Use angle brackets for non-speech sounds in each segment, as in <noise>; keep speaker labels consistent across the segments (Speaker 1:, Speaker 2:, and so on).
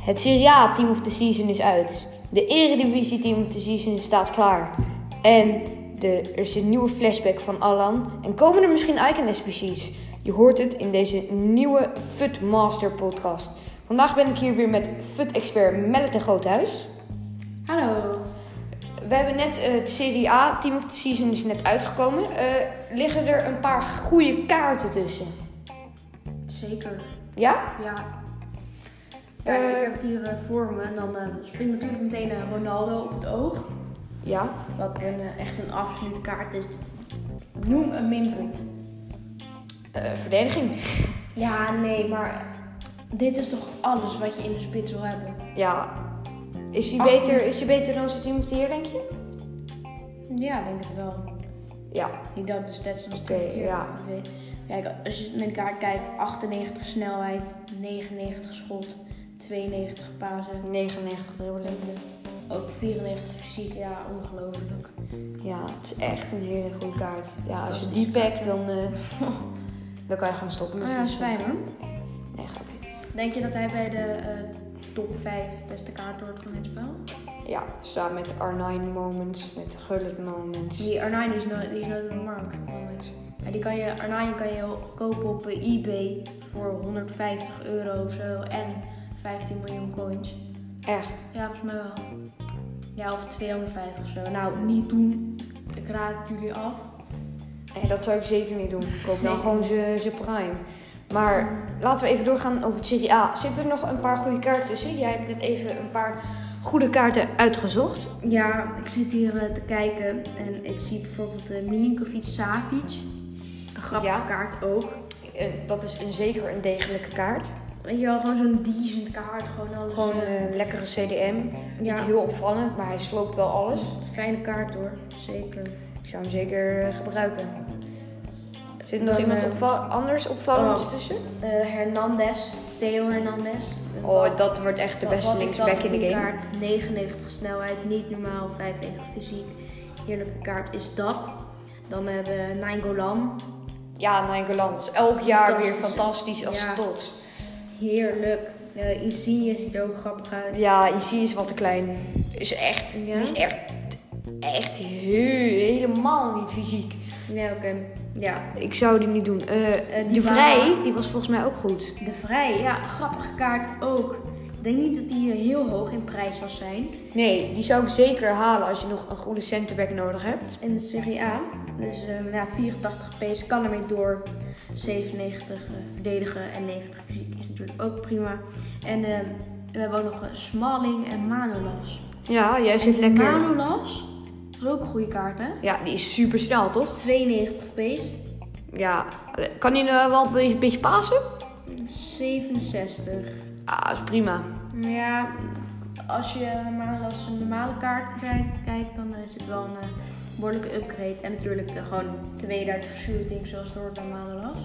Speaker 1: Het Serie A Team of the Season is uit. De Eredivisie Team of the Season staat klaar. En de, er is een nieuwe flashback van Alan. En komen er misschien Icon SBC's? Je hoort het in deze nieuwe FUT Master podcast. Vandaag ben ik hier weer met FUT-expert Melle ten Groothuis.
Speaker 2: Hallo.
Speaker 1: We hebben net eh, het Serie A Team of the Season is net uitgekomen. Eh, liggen er een paar goede kaarten tussen?
Speaker 2: Zeker.
Speaker 1: Ja?
Speaker 2: Ja. ja
Speaker 1: Eh,
Speaker 2: ik heb het hier eh, voor me en dan eh, springt natuurlijk meteen eh, Ronaldo op het oog.
Speaker 1: Ja.
Speaker 2: Wat een, eh, echt een absolute kaart is. Noem een minpunt.
Speaker 1: Eh, verdediging.
Speaker 2: Ja, nee, maar dit is toch alles wat je in de spits wil hebben?
Speaker 1: Ja. Is hij,
Speaker 2: Achttien.
Speaker 1: beter, is hij beter dan zijn team of the year, denk je?
Speaker 2: Ja, ik denk het wel.
Speaker 1: Ja.
Speaker 2: Niet dat de stats van de
Speaker 1: Oké,
Speaker 2: structuur.
Speaker 1: ja.
Speaker 2: Kijk, als je naar de kaart kijkt, 98 snelheid, 99 schot, 92 pasen.
Speaker 1: 99 dribbeling.
Speaker 2: Ook 94 fysiek, ja, ongelooflijk.
Speaker 1: Ja, het is echt een hele goede kaart. Ja, als je die pakt, dan, eh,
Speaker 2: <laughs>
Speaker 1: dan kan je gewoon stoppen met
Speaker 2: Ah, Ja, dat is
Speaker 1: fietsen.
Speaker 2: fijn hoor.
Speaker 1: Nee, grapje.
Speaker 2: Denk je dat hij bij de eh, top 5 beste kaart wordt van dit spel?
Speaker 1: Ja, samen met R9 moments, met Gullet moments.
Speaker 2: Die Arnijn is nooit die is nooit op de markt. moment. Maar die kan je, Arnijn kan je kopen op eh, eBay voor 150 euro of zo en 15 miljoen coins.
Speaker 1: Echt.
Speaker 2: Ja, volgens mij wel. Ja, of 250 of zo. Nou, niet doen. Ik raad het jullie af.
Speaker 1: Nee, dat zou ik zeker niet doen. Ik koop dan
Speaker 2: Zeker
Speaker 1: gewoon zijn prime. Maar laten we even doorgaan over het Serie A. Zitten er nog een paar goede kaarten tussen? Jij hebt net even een paar goede kaarten uitgezocht.
Speaker 2: Ja, ik zit hier eh, te kijken en ik zie bijvoorbeeld eh, Milinkovic Savic. Een grappige
Speaker 1: Ja.
Speaker 2: kaart ook.
Speaker 1: Eh, Dat is een, zeker een degelijke kaart.
Speaker 2: Weet je wel, gewoon zo'n decent kaart. Gewoon alles.
Speaker 1: Gewoon
Speaker 2: eh,
Speaker 1: een lekkere CDM. Niet
Speaker 2: ja,
Speaker 1: heel opvallend, maar hij sloopt wel alles.
Speaker 2: fijne kaart hoor. Zeker.
Speaker 1: Ik zou hem zeker eh, gebruiken. Zit er nog
Speaker 2: Dan,
Speaker 1: iemand
Speaker 2: eh,
Speaker 1: opval- anders opvallends
Speaker 2: oh.
Speaker 1: tussen?
Speaker 2: Eh, Hernandez. Theo Hernandez.
Speaker 1: Oh, dat wordt echt de
Speaker 2: Wat-
Speaker 1: beste
Speaker 2: wat is
Speaker 1: linksback
Speaker 2: dat
Speaker 1: in de
Speaker 2: voor
Speaker 1: game.
Speaker 2: Kaart, 99 snelheid, niet normaal, 95 fysiek. Heerlijke kaart is dat. Dan hebben we Nainggolan.
Speaker 1: Ja, Nijngeland is elk jaar weer
Speaker 2: Fantastisch.
Speaker 1: fantastisch als
Speaker 2: Ja.
Speaker 1: trots.
Speaker 2: Heerlijk. Eh Insigne ziet er ook grappig uit.
Speaker 1: Ja, je ziet is wat te klein. Is echt,
Speaker 2: Ja?
Speaker 1: is echt, echt heel, helemaal niet fysiek.
Speaker 2: Nee, oké. Ja.
Speaker 1: Ik zou die niet doen. Eh,
Speaker 2: Eh,
Speaker 1: de
Speaker 2: Dybala.
Speaker 1: Vrij, die was volgens mij ook goed.
Speaker 2: De Vrij, ja, grappige kaart ook. Ik denk niet dat die eh, heel hoog in prijs zal zijn.
Speaker 1: Nee, die zou ik zeker halen als je nog een goede centerback nodig hebt.
Speaker 2: in de Serie A. Dus eh, ja, 84 pace kan ermee door. 97 eh, verdedigen en 90 fysiek is natuurlijk ook prima. En eh, we hebben ook nog eh, Smalling en Manolas.
Speaker 1: Ja, jij zit
Speaker 2: En
Speaker 1: lekker.
Speaker 2: Manolas is ook een goede kaart, hè?
Speaker 1: Ja, die is super snel, toch?
Speaker 2: 92 pace,
Speaker 1: Ja, kan hij nou wel een beetje- een beetje pasen?
Speaker 2: 67.
Speaker 1: Ah, is prima.
Speaker 2: Ja, als je Manolas een normale kaart kijkt, kijkt dan eh, is het wel een eh, behoorlijke upgrade. En natuurlijk eh, gewoon 32 shooting zoals het hoort bij Manolas.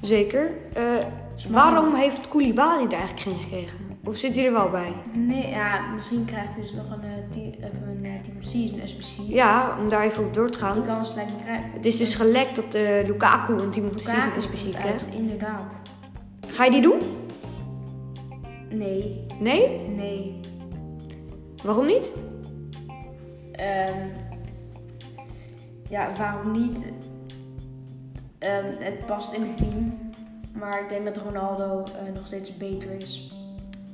Speaker 1: Zeker. Eh, waarom heeft Koulibaly er eigenlijk geen gekregen? Of zit hij er wel bij?
Speaker 2: Nee, ja, misschien krijgt hij dus nog een, eh, team, of een eh, team of season SBC.
Speaker 1: Ja, om daar even op door te
Speaker 2: Die
Speaker 1: gaan.
Speaker 2: kans lijkt me krijgen.
Speaker 1: Het is dus gelekt dat eh, Lukaku een team of the season is precies krijgt.
Speaker 2: Inderdaad.
Speaker 1: Ga je die doen?
Speaker 2: Nee,
Speaker 1: Nee?
Speaker 2: nee.
Speaker 1: Waarom niet?
Speaker 2: Ehm, ja, waarom niet? Ehm, het past in het team. Maar ik denk dat Ronaldo eh, nog steeds beter is.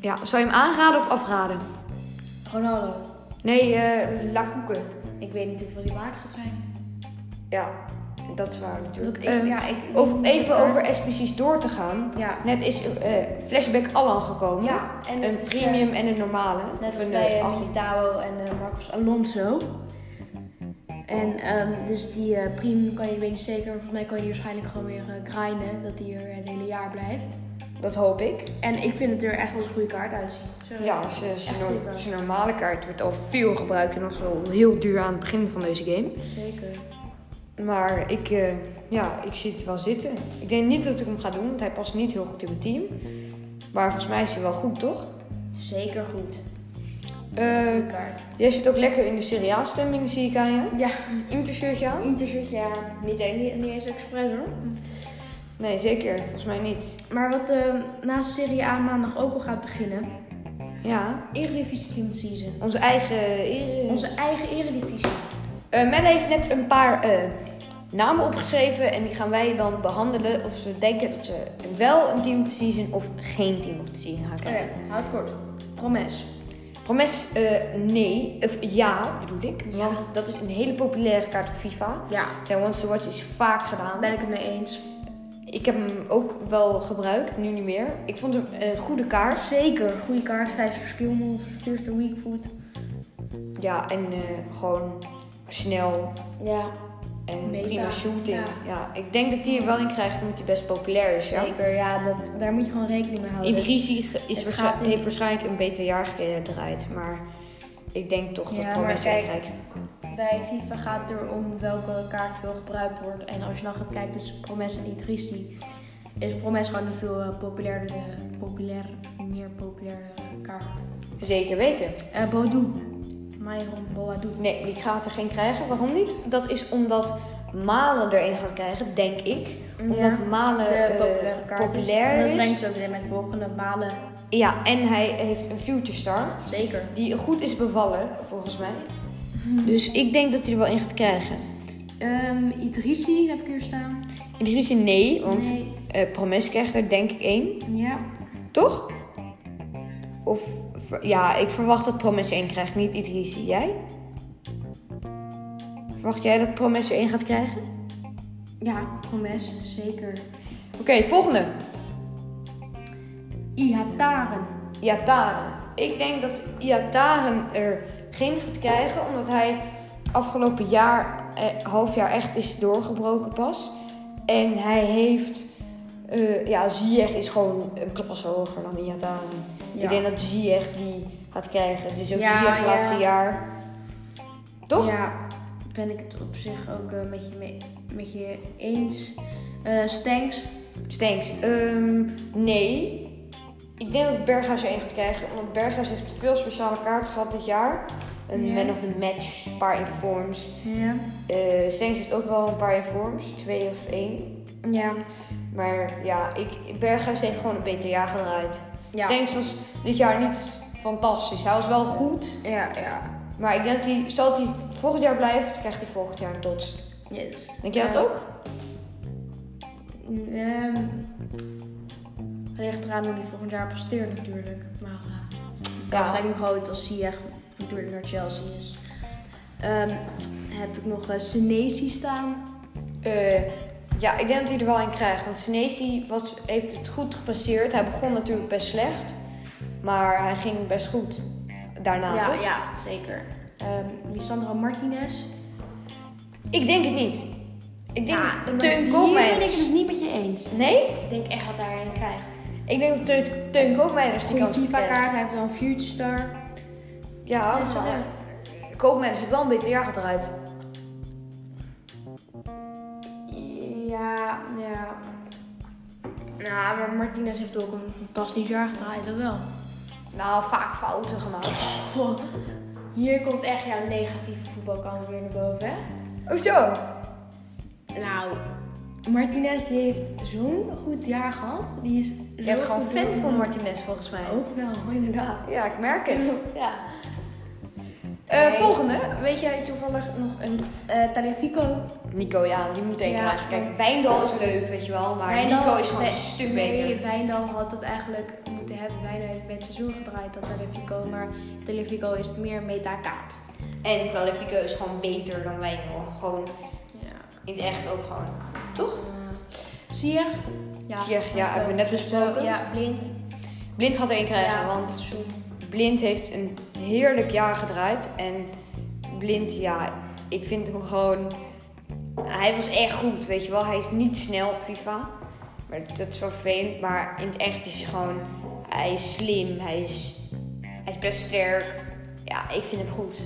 Speaker 1: Ja, zou je hem aanraden of afraden?
Speaker 2: Ronaldo.
Speaker 1: Nee, eh La Coupe.
Speaker 2: Ik weet niet hoeveel die waard gaat zijn.
Speaker 1: Ja, dat is waar
Speaker 2: Want
Speaker 1: natuurlijk.
Speaker 2: ik,
Speaker 1: Eh,
Speaker 2: ja, ik,
Speaker 1: over, even over SPC's door te gaan.
Speaker 2: Ja,
Speaker 1: Net is eh, Flashback Allan gekomen.
Speaker 2: ja en
Speaker 1: Een
Speaker 2: het is, eh,
Speaker 1: premium en een normale.
Speaker 2: Net
Speaker 1: Of een
Speaker 2: als bij
Speaker 1: eh,
Speaker 2: eh,
Speaker 1: acht-
Speaker 2: Militao en eh, Marcos Alonso. En ehm, dus die eh premium kan je, ik weet niet zeker, maar volgens mij kan je die waarschijnlijk gewoon weer eh, grinden. Dat die er eh, het hele jaar blijft.
Speaker 1: Dat hoop ik.
Speaker 2: En ik vind het er echt als een goede kaart uitzien. Zo.
Speaker 1: Ja, zijn- zijn
Speaker 2: Echt eh.
Speaker 1: nor-
Speaker 2: goede kaart.
Speaker 1: zijn normale kaart werd al veel gebruikt en was al heel duur aan het begin van deze game.
Speaker 2: Zeker.
Speaker 1: Maar ik, eh, ja, ik zie het wel zitten. Ik denk niet dat ik hem ga doen, want hij past niet heel goed in mijn team. Maar volgens mij is hij wel goed, toch?
Speaker 2: Zeker goed.
Speaker 1: Eh,
Speaker 2: Goede kaart.
Speaker 1: jij zit ook lekker in de seriaal stemming, zie ik aan je.
Speaker 2: Ja,
Speaker 1: Intershirtje aan?
Speaker 2: intershirtje ja, niet, e- niet, niet eens expres hoor.
Speaker 1: Nee, zeker. Volgens mij niet.
Speaker 2: ehm, Maar wat eh, naast Serie A maandag ook al gaat beginnen,
Speaker 1: Ja,
Speaker 2: Eredivisie Team of the Season.
Speaker 1: onze eigen... eh, Ere-
Speaker 2: Onze eigen eredivisie.
Speaker 1: Eh, men heeft net een paar eh, namen opgeschreven en die gaan wij dan behandelen of ze denken dat ze wel een team of the season of geen team of the season gaan krijgen.
Speaker 2: Oké, Oh houd kort. Promes.
Speaker 1: Promes eh, nee, of ja bedoel ik,
Speaker 2: Ja.
Speaker 1: want dat is een hele populaire kaart op FIFA.
Speaker 2: Ja.
Speaker 1: Zijn once to watch is vaak gedaan.
Speaker 2: Ben ik het mee eens.
Speaker 1: Ik heb hem ook wel gebruikt, nu niet meer. Ik vond hem een goede kaart.
Speaker 2: Zeker. Goede kaart. Vijf skill moves. Eerste weak foot.
Speaker 1: Ja, en eh, gewoon snel
Speaker 2: Ja.
Speaker 1: en
Speaker 2: Meta.
Speaker 1: prima shooting.
Speaker 2: Ja.
Speaker 1: Ja. ik denk dat die er wel in krijgt omdat hij best populair is. Ja?
Speaker 2: Zeker. Ja, dat, daar moet je gewoon rekening mee houden.
Speaker 1: Idrissi is
Speaker 2: Het
Speaker 1: waarschijn-
Speaker 2: gaat in-
Speaker 1: heeft waarschijnlijk een beter jaar gedraaid, maar ik denk toch
Speaker 2: Ja,
Speaker 1: dat
Speaker 2: maar
Speaker 1: Promes wel
Speaker 2: kijk-
Speaker 1: krijgt.
Speaker 2: Bij FIFA gaat het erom welke kaart veel gebruikt wordt. En als je dan gaat kijken tussen Promes en Idrissi, is Promes gewoon een veel eh, populairder, eh, populair, meer populaire kaart.
Speaker 1: Zeker weten.
Speaker 2: Eh Boadu. Myron Boadu.
Speaker 1: Nee, die gaat er geen krijgen. Waarom niet? Dat is omdat Malen erin gaat krijgen, denk ik. Omdat
Speaker 2: Ja,
Speaker 1: Malen
Speaker 2: De
Speaker 1: eh,
Speaker 2: populaire kaart is. En
Speaker 1: populair
Speaker 2: Dat
Speaker 1: is.
Speaker 2: brengt ze ook weer met volgende malen.
Speaker 1: Ja, en hij heeft een future star
Speaker 2: Zeker.
Speaker 1: die goed is bevallen, volgens mij. Dus ik denk dat hij er wel in gaat krijgen.
Speaker 2: Ehm Idrissi heb ik hier staan.
Speaker 1: Idrissi nee, want
Speaker 2: Nee.
Speaker 1: eh, Promes krijgt er denk ik één.
Speaker 2: Ja.
Speaker 1: Toch? Of, ver- ja, ik verwacht dat Promes 1 krijgt, niet Idrissi. Jij? Verwacht jij dat Promes er 1 gaat krijgen?
Speaker 2: Ja, Promes. Zeker.
Speaker 1: Oké, volgende.
Speaker 2: Ihataren.
Speaker 1: Iataren. Ik denk dat Iataren er geen gaat krijgen, omdat hij afgelopen jaar, eh, half jaar echt is doorgebroken pas. En hij heeft, eh ja, Ziyech is gewoon een klas hoger dan Iataren.
Speaker 2: Ja.
Speaker 1: Ik denk dat Ziyech die gaat krijgen. Het is ook
Speaker 2: Ja,
Speaker 1: Ziyech
Speaker 2: ja.
Speaker 1: laatste jaar. Toch?
Speaker 2: Ja. Ben ik het op zich ook eh, met, je mee- met je eens. Eh Stanks.
Speaker 1: Stanks. Dus Ehm, nee. Ik denk dat Berghuis er één gaat krijgen. Omdat Berghuis heeft veel speciale kaarten gehad dit jaar. Een
Speaker 2: Ja.
Speaker 1: man of the match, een paar informs.
Speaker 2: Ja.
Speaker 1: Eh Stenks heeft ook wel een paar informs, twee of één.
Speaker 2: Ja.
Speaker 1: Maar ja, ik, Berghuis heeft gewoon een beter jaar gedraaid.
Speaker 2: Ja.
Speaker 1: Stenks was dit jaar niet fantastisch. Hij was wel goed.
Speaker 2: Ja, ja.
Speaker 1: Maar ik denk dat hij, stel dat hij volgend jaar blijft, krijgt hij volgend jaar een tots.
Speaker 2: Yes.
Speaker 1: Denk jij dat ook?
Speaker 2: Ehm ligt eraan hoe die volgend jaar presteert natuurlijk. Maar eh, de kans
Speaker 1: Ja.
Speaker 2: lijkt me groot als Ziyech natuurlijk naar Chelsea is. Ehm, heb ik nog eh, Senesi staan.
Speaker 1: Eh, ja, ik denk dat hij er wel in krijgt. Want Senesi was, heeft het goed gepasseerd. Hij begon natuurlijk best slecht. Maar hij ging best goed daarna,
Speaker 2: ja,
Speaker 1: Nou, toch?
Speaker 2: ja, zeker. Ehm Lisandro Martinez.
Speaker 1: Ik denk het niet. Ik denk
Speaker 2: Ja,
Speaker 1: dat
Speaker 2: maar
Speaker 1: Teun
Speaker 2: Hier ben ik het
Speaker 1: Koopmeiners...
Speaker 2: dus niet met je eens.
Speaker 1: Nee?
Speaker 2: Ik denk echt wat hij erin krijgt.
Speaker 1: Ik denk dat Teun, Teun Koopmeiners die
Speaker 2: Goeie
Speaker 1: kans
Speaker 2: FIFA
Speaker 1: krijgt.
Speaker 2: kaart, hij heeft wel een future star.
Speaker 1: Ja,
Speaker 2: Dus, eh,
Speaker 1: maar Koopmeiners heeft wel een beter jaar gedraaid.
Speaker 2: Ja, ja. Nou, maar Martinez heeft ook een fantastisch jaar gedraaid, dat wel.
Speaker 1: Nou, vaak fouten gemaakt.
Speaker 2: Goh, hier komt echt jouw negatieve voetbalkant weer naar boven, hè?
Speaker 1: Oh zo.
Speaker 2: Nou, Martinez die heeft zo'n goed jaar gehad. Die is
Speaker 1: Je hebt gewoon fan van Martinez volgens mij.
Speaker 2: Ook wel, inderdaad.
Speaker 1: Ja, ik merk het.
Speaker 2: Ja.
Speaker 1: Eh,
Speaker 2: Nee.
Speaker 1: Volgende. Weet jij toevallig nog een
Speaker 2: Eh Taliafico.
Speaker 1: Nico, ja, die moet één
Speaker 2: Ja.
Speaker 1: krijgen. Kijk, Wijndal is leuk, weet je wel. Maar
Speaker 2: Wijndal-
Speaker 1: Nico is gewoon
Speaker 2: Nee,
Speaker 1: een stuk beter.
Speaker 2: Nee, Wijndal had het eigenlijk moeten hebben. Wijndal heeft bij het seizoen gedraaid dan Taliafico. Maar Taliafico is meer meta-kaart.
Speaker 1: En Talifico is gewoon beter dan Wijndal. Gewoon
Speaker 2: Ja.
Speaker 1: in het echt ook gewoon. Toch?
Speaker 2: Sier? Eh, Ja.
Speaker 1: Ziyech, ja, hebben we net besproken.
Speaker 2: Ja, blind.
Speaker 1: Blind gaat er één krijgen,
Speaker 2: Ja.
Speaker 1: want Blind heeft een heerlijk jaar gedraaid. En Blind, ja, ik vind hem gewoon... Hij was echt goed, weet je wel. Hij is niet snel op FIFA. Maar dat is wel vervelend. Maar in het echt is hij gewoon... Hij is slim, hij is, hij is best sterk. Ja, ik vind hem goed.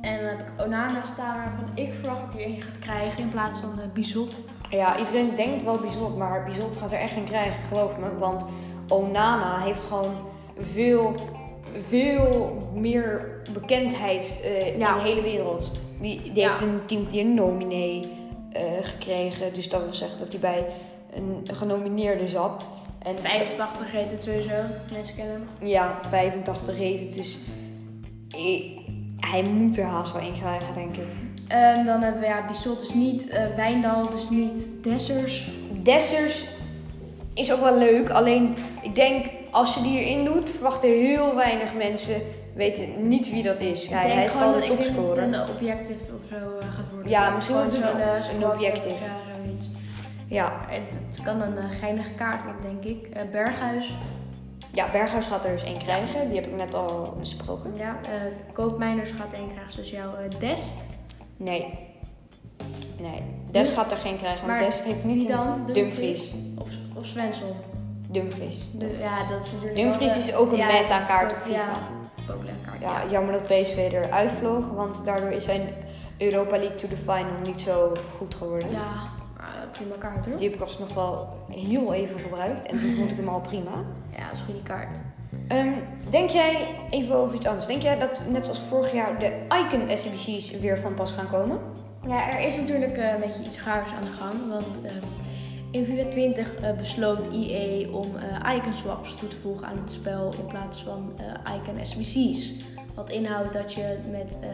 Speaker 2: En dan heb ik Onana staan waarvan ik verwacht dat hij één gaat krijgen in plaats van eh Bizot.
Speaker 1: Ja, iedereen denkt wel Bizot, maar Bizot gaat er echt geen krijgen, geloof me. Want Onana heeft gewoon veel, veel meer bekendheid eh,
Speaker 2: Ja.
Speaker 1: in de hele wereld. Die, die
Speaker 2: Ja.
Speaker 1: heeft een team die een nominee eh, gekregen. Dus dat wil zeggen dat hij bij een genomineerde zat. En
Speaker 2: 85 heet het sowieso. Mensen kennen hem.
Speaker 1: Ja, 85 heet het, dus i- hij moet er haast wel in krijgen, denk ik.
Speaker 2: Ehm, dan hebben we ja, Bissot dus niet, eh, Wijndal dus niet, Dessers.
Speaker 1: Dessers is ook wel leuk, alleen ik denk als je die erin doet, verwachten heel weinig mensen weten niet wie dat is. Hij,
Speaker 2: Ik denk
Speaker 1: hij is
Speaker 2: gewoon
Speaker 1: wel de
Speaker 2: dat- ik denk
Speaker 1: topscorer.
Speaker 2: dat het een objective of zo eh, gaat worden.
Speaker 1: Ja, misschien
Speaker 2: Gewoon
Speaker 1: wordt het
Speaker 2: zo'n,
Speaker 1: een-
Speaker 2: eh,
Speaker 1: een
Speaker 2: squad,
Speaker 1: objective.
Speaker 2: Ja, zoiets.
Speaker 1: Ja.
Speaker 2: Het, het kan een eh, geinige kaart worden, denk ik. Eh, Berghuis,
Speaker 1: ja, Berghuis gaat er dus één krijgen, die heb ik net al besproken.
Speaker 2: ja. eh, Koopmijners gaat één krijgen, dus jouw eh, Dest.
Speaker 1: Nee. Nee, Des
Speaker 2: Wie-
Speaker 1: gaat er geen krijgen, want
Speaker 2: maar
Speaker 1: Des heeft niet
Speaker 2: wie
Speaker 1: een-
Speaker 2: dan?
Speaker 1: Dumfries.
Speaker 2: Of, of Svensson.
Speaker 1: Dumfries.
Speaker 2: De- ja, dat is natuurlijk
Speaker 1: Dumfries
Speaker 2: wel, eh,
Speaker 1: is ook een
Speaker 2: ja,
Speaker 1: meta-kaart op
Speaker 2: dat-
Speaker 1: FIFA.
Speaker 2: Ja, ook een kaart.
Speaker 1: Ja, jammer dat PSV eruit vloog, want daardoor is zijn Europa League to the final niet zo goed geworden.
Speaker 2: Ja, maar eh, prima kaart hoor.
Speaker 1: Die heb ik alsnog wel heel even gebruikt en toen vond ik hem al prima.
Speaker 2: Ja, dat is een goede kaart.
Speaker 1: Ehm, denk jij, even over iets anders, denk jij dat net als vorig jaar de Icon SBC's weer van pas gaan komen?
Speaker 2: Ja, er is natuurlijk eh, een beetje iets raars aan de gang. Want eh, in FIFA 20 eh, besloot EA om eh, icon swaps toe te voegen aan het spel in plaats van eh, icon SBC's. Wat inhoudt dat je, met, eh,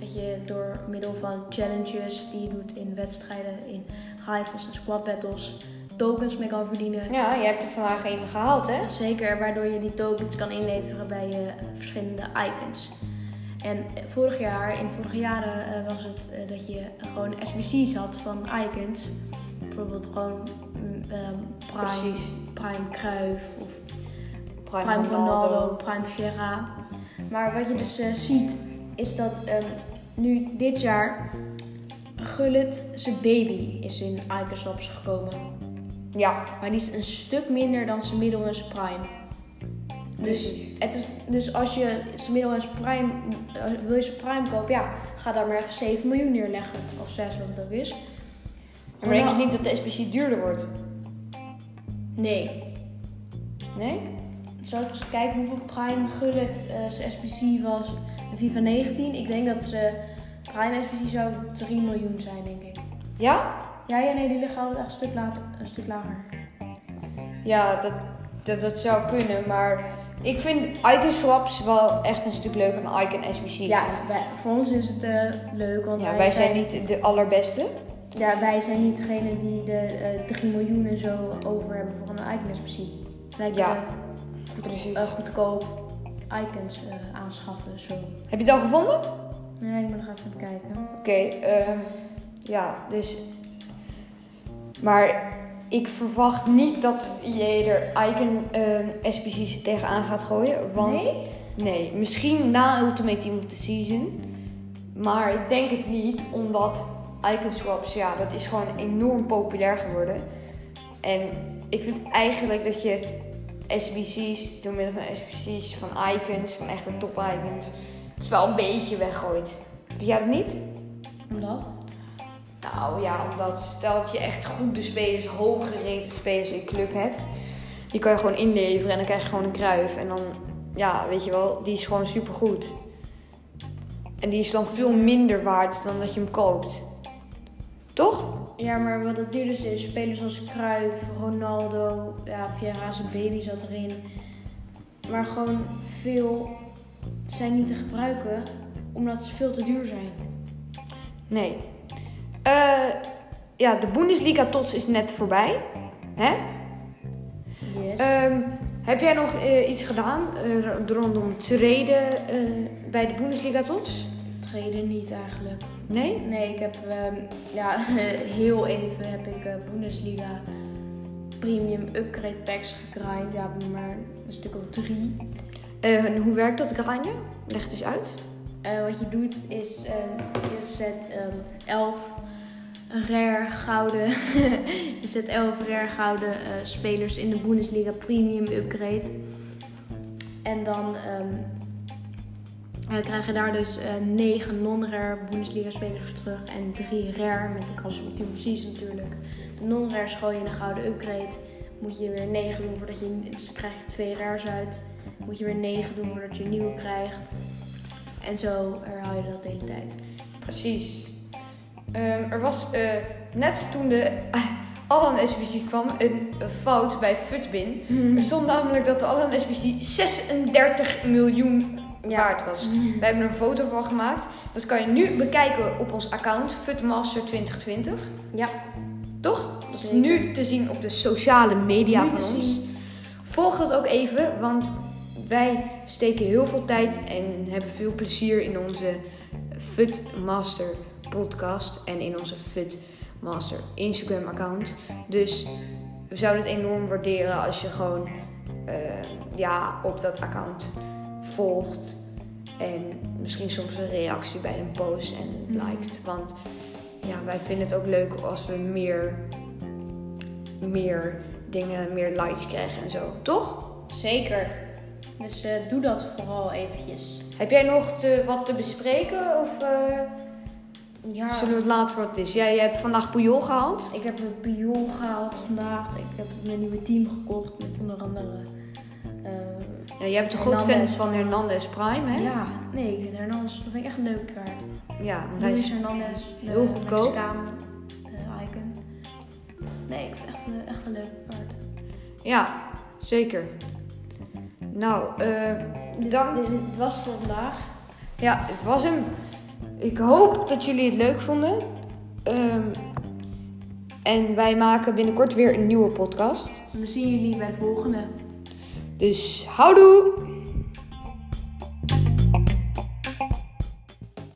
Speaker 2: dat je door middel van challenges die je doet in wedstrijden, in rivals en squad battles, tokens mee kan verdienen.
Speaker 1: Ja, jij hebt er vandaag één gehaald, hè?
Speaker 2: Zeker, waardoor je die tokens kan inleveren bij je eh, verschillende icons. En eh, vorig jaar, in vorige jaren, eh, was het eh, dat je gewoon SBC's had van icons. Bijvoorbeeld gewoon mm, ehm, Prime,
Speaker 1: Precies.
Speaker 2: Prime Cruyff of
Speaker 1: Prime,
Speaker 2: Prime
Speaker 1: Ronaldo.
Speaker 2: Ronaldo, Prime Vieira. Maar wat je dus eh, ziet, is dat ehm, nu dit jaar Gullit zijn baby is in icon swaps gekomen.
Speaker 1: Ja,
Speaker 2: Maar die is een stuk minder dan zijn middel en zijn prime. Dus,
Speaker 1: Precies.
Speaker 2: het is, dus als je zijn middel en zijn prime, eh, wil je zijn prime kopen, ja, ga daar maar even 7 miljoen neerleggen. Of 6, wat het ook is.
Speaker 1: maar denk je niet dat de SBC duurder wordt?
Speaker 2: Nee.
Speaker 1: Nee?
Speaker 2: Zou ik eens kijken hoeveel prime gullet eh, zijn SPC was in FIFA 19? Ik denk dat zijn prime SPC zou 3 miljoen zijn, denk ik.
Speaker 1: Ja?
Speaker 2: Ja, ja, nee, die liggen altijd echt een stuk, later, een stuk lager.
Speaker 1: Ja, dat, dat, dat zou kunnen, maar ik vind Icon Swaps wel echt een stuk leuker dan Icon SBC's.
Speaker 2: Ja, want wij- voor ons is het eh, leuk, want
Speaker 1: Ja, wij zijn niet de allerbeste.
Speaker 2: Ja, wij zijn niet degene die de eh 3 miljoen en zo over hebben voor een icon-SPC. Wij
Speaker 1: Ja,
Speaker 2: kunnen
Speaker 1: Precies.
Speaker 2: eh, goedkoop icons eh, aanschaffen. Zo.
Speaker 1: Heb je het al gevonden?
Speaker 2: Nee, ik moet nog even aan het kijken.
Speaker 1: Oké, ehm, ja, dus. Maar ik verwacht niet dat jij er Icon ehm SPC's tegenaan gaat gooien. Want,
Speaker 2: Nee?
Speaker 1: Nee, misschien na Ultimate Team of the Season. Maar ik denk het niet, omdat Icon Swaps, ja, dat is gewoon enorm populair geworden. En ik vind eigenlijk dat je SBC's, door middel van SBC's, van icons, van echte top icons, het spel een beetje weggooit. Vind jij dat niet?
Speaker 2: Omdat?
Speaker 1: Nou ja, omdat stel dat je echt goede spelers, hooggerated spelers in je club hebt. Die kan je gewoon inleveren en dan krijg je gewoon een kruif. En dan, ja, weet je wel, die is gewoon supergoed. En die is dan veel minder waard dan dat je hem koopt. Toch?
Speaker 2: Ja, maar wat het nu dus is, spelers als Cruyff, Ronaldo, ja, Vieira zijn baby zat erin. Maar gewoon veel zijn niet te gebruiken, omdat ze veel te duur zijn.
Speaker 1: Nee. Eh, ja, de Bundesliga tots is net voorbij. Hè?
Speaker 2: Yes.
Speaker 1: Ehm, heb jij nog eh, iets gedaan eh, rondom treden eh, bij de Bundesliga tots?
Speaker 2: Treden niet eigenlijk.
Speaker 1: Nee?
Speaker 2: Nee, ik heb ehm, ja, <laughs> heel even heb ik eh, Bundesliga Premium Upgrade Packs gegrind. Ja, maar een stuk of drie.
Speaker 1: Eh, en hoe werkt dat grindje? Leg het eens uit.
Speaker 2: Eh, wat je doet is, eh, je zet ehm, 11 rare gouden, <laughs> je zet 11 rare gouden eh, spelers in de Bundesliga Premium Upgrade. En dan ehm, eh, krijg je daar dus eh 9 non-rare Bundesliga spelers voor terug en 3 rare met de kans op team precies natuurlijk. De non-rare gooi je in een gouden upgrade. Moet je weer 9 doen voordat je, dus krijg je 2 rares uit. Moet je weer 9 doen voordat je een nieuwe krijgt. En zo herhaal je dat de hele tijd.
Speaker 1: Precies. Ehm, er was eh, net toen de Allan SBC kwam een een fout bij Futbin. Er stond namelijk dat de Allan SBC 36 miljoen
Speaker 2: Ja.
Speaker 1: waard was. We hebben er een foto van gemaakt. Dat kan je nu bekijken op ons account, Futmaster 2020.
Speaker 2: Ja,
Speaker 1: Toch? Dat is
Speaker 2: Zeker.
Speaker 1: nu te zien op de sociale media
Speaker 2: Nu te
Speaker 1: van ons.
Speaker 2: zien.
Speaker 1: Volg dat ook even, want wij steken heel veel tijd en hebben veel plezier in onze Fut Master podcast en in onze Fut Master Instagram account. Dus we zouden het enorm waarderen als je gewoon eh, ja, op dat account volgt. En misschien soms een reactie bij een post en
Speaker 2: Mhm.
Speaker 1: liked. Want ja, wij vinden het ook leuk als we meer, meer dingen, meer likes krijgen en zo. Toch?
Speaker 2: zeker. Dus eh, doe dat vooral eventjes.
Speaker 1: Heb jij nog te- wat te bespreken? Of eh,
Speaker 2: Ja.
Speaker 1: zullen we het later voor wat het is? Jij jij hebt vandaag bouillon gehaald.
Speaker 2: Ik heb een pion gehaald vandaag. Ik heb mijn nieuwe team gekocht met onder andere. eh,
Speaker 1: Ja, jij bent een groot fan
Speaker 2: Hernandez.
Speaker 1: van Hernandez Prime, hè?
Speaker 2: ja, nee, ik vind Hernandez. Dat vind ik echt een leuke kaart.
Speaker 1: Ja, want hij
Speaker 2: Luis
Speaker 1: is...
Speaker 2: Hernandez.
Speaker 1: heel
Speaker 2: de
Speaker 1: goedkoop.
Speaker 2: Mexicaan, eh, icon. Nee, ik vind het echt, een- echt een leuke kaart.
Speaker 1: Ja, zeker. Nou, eh, bedankt.
Speaker 2: Dit, dit, dit Dus was voor vandaag.
Speaker 1: Ja, het was hem. Ik hoop dat jullie het leuk vonden. Ehm, en wij maken binnenkort weer een nieuwe podcast.
Speaker 2: We zien jullie bij de volgende.
Speaker 1: Dus houdoe!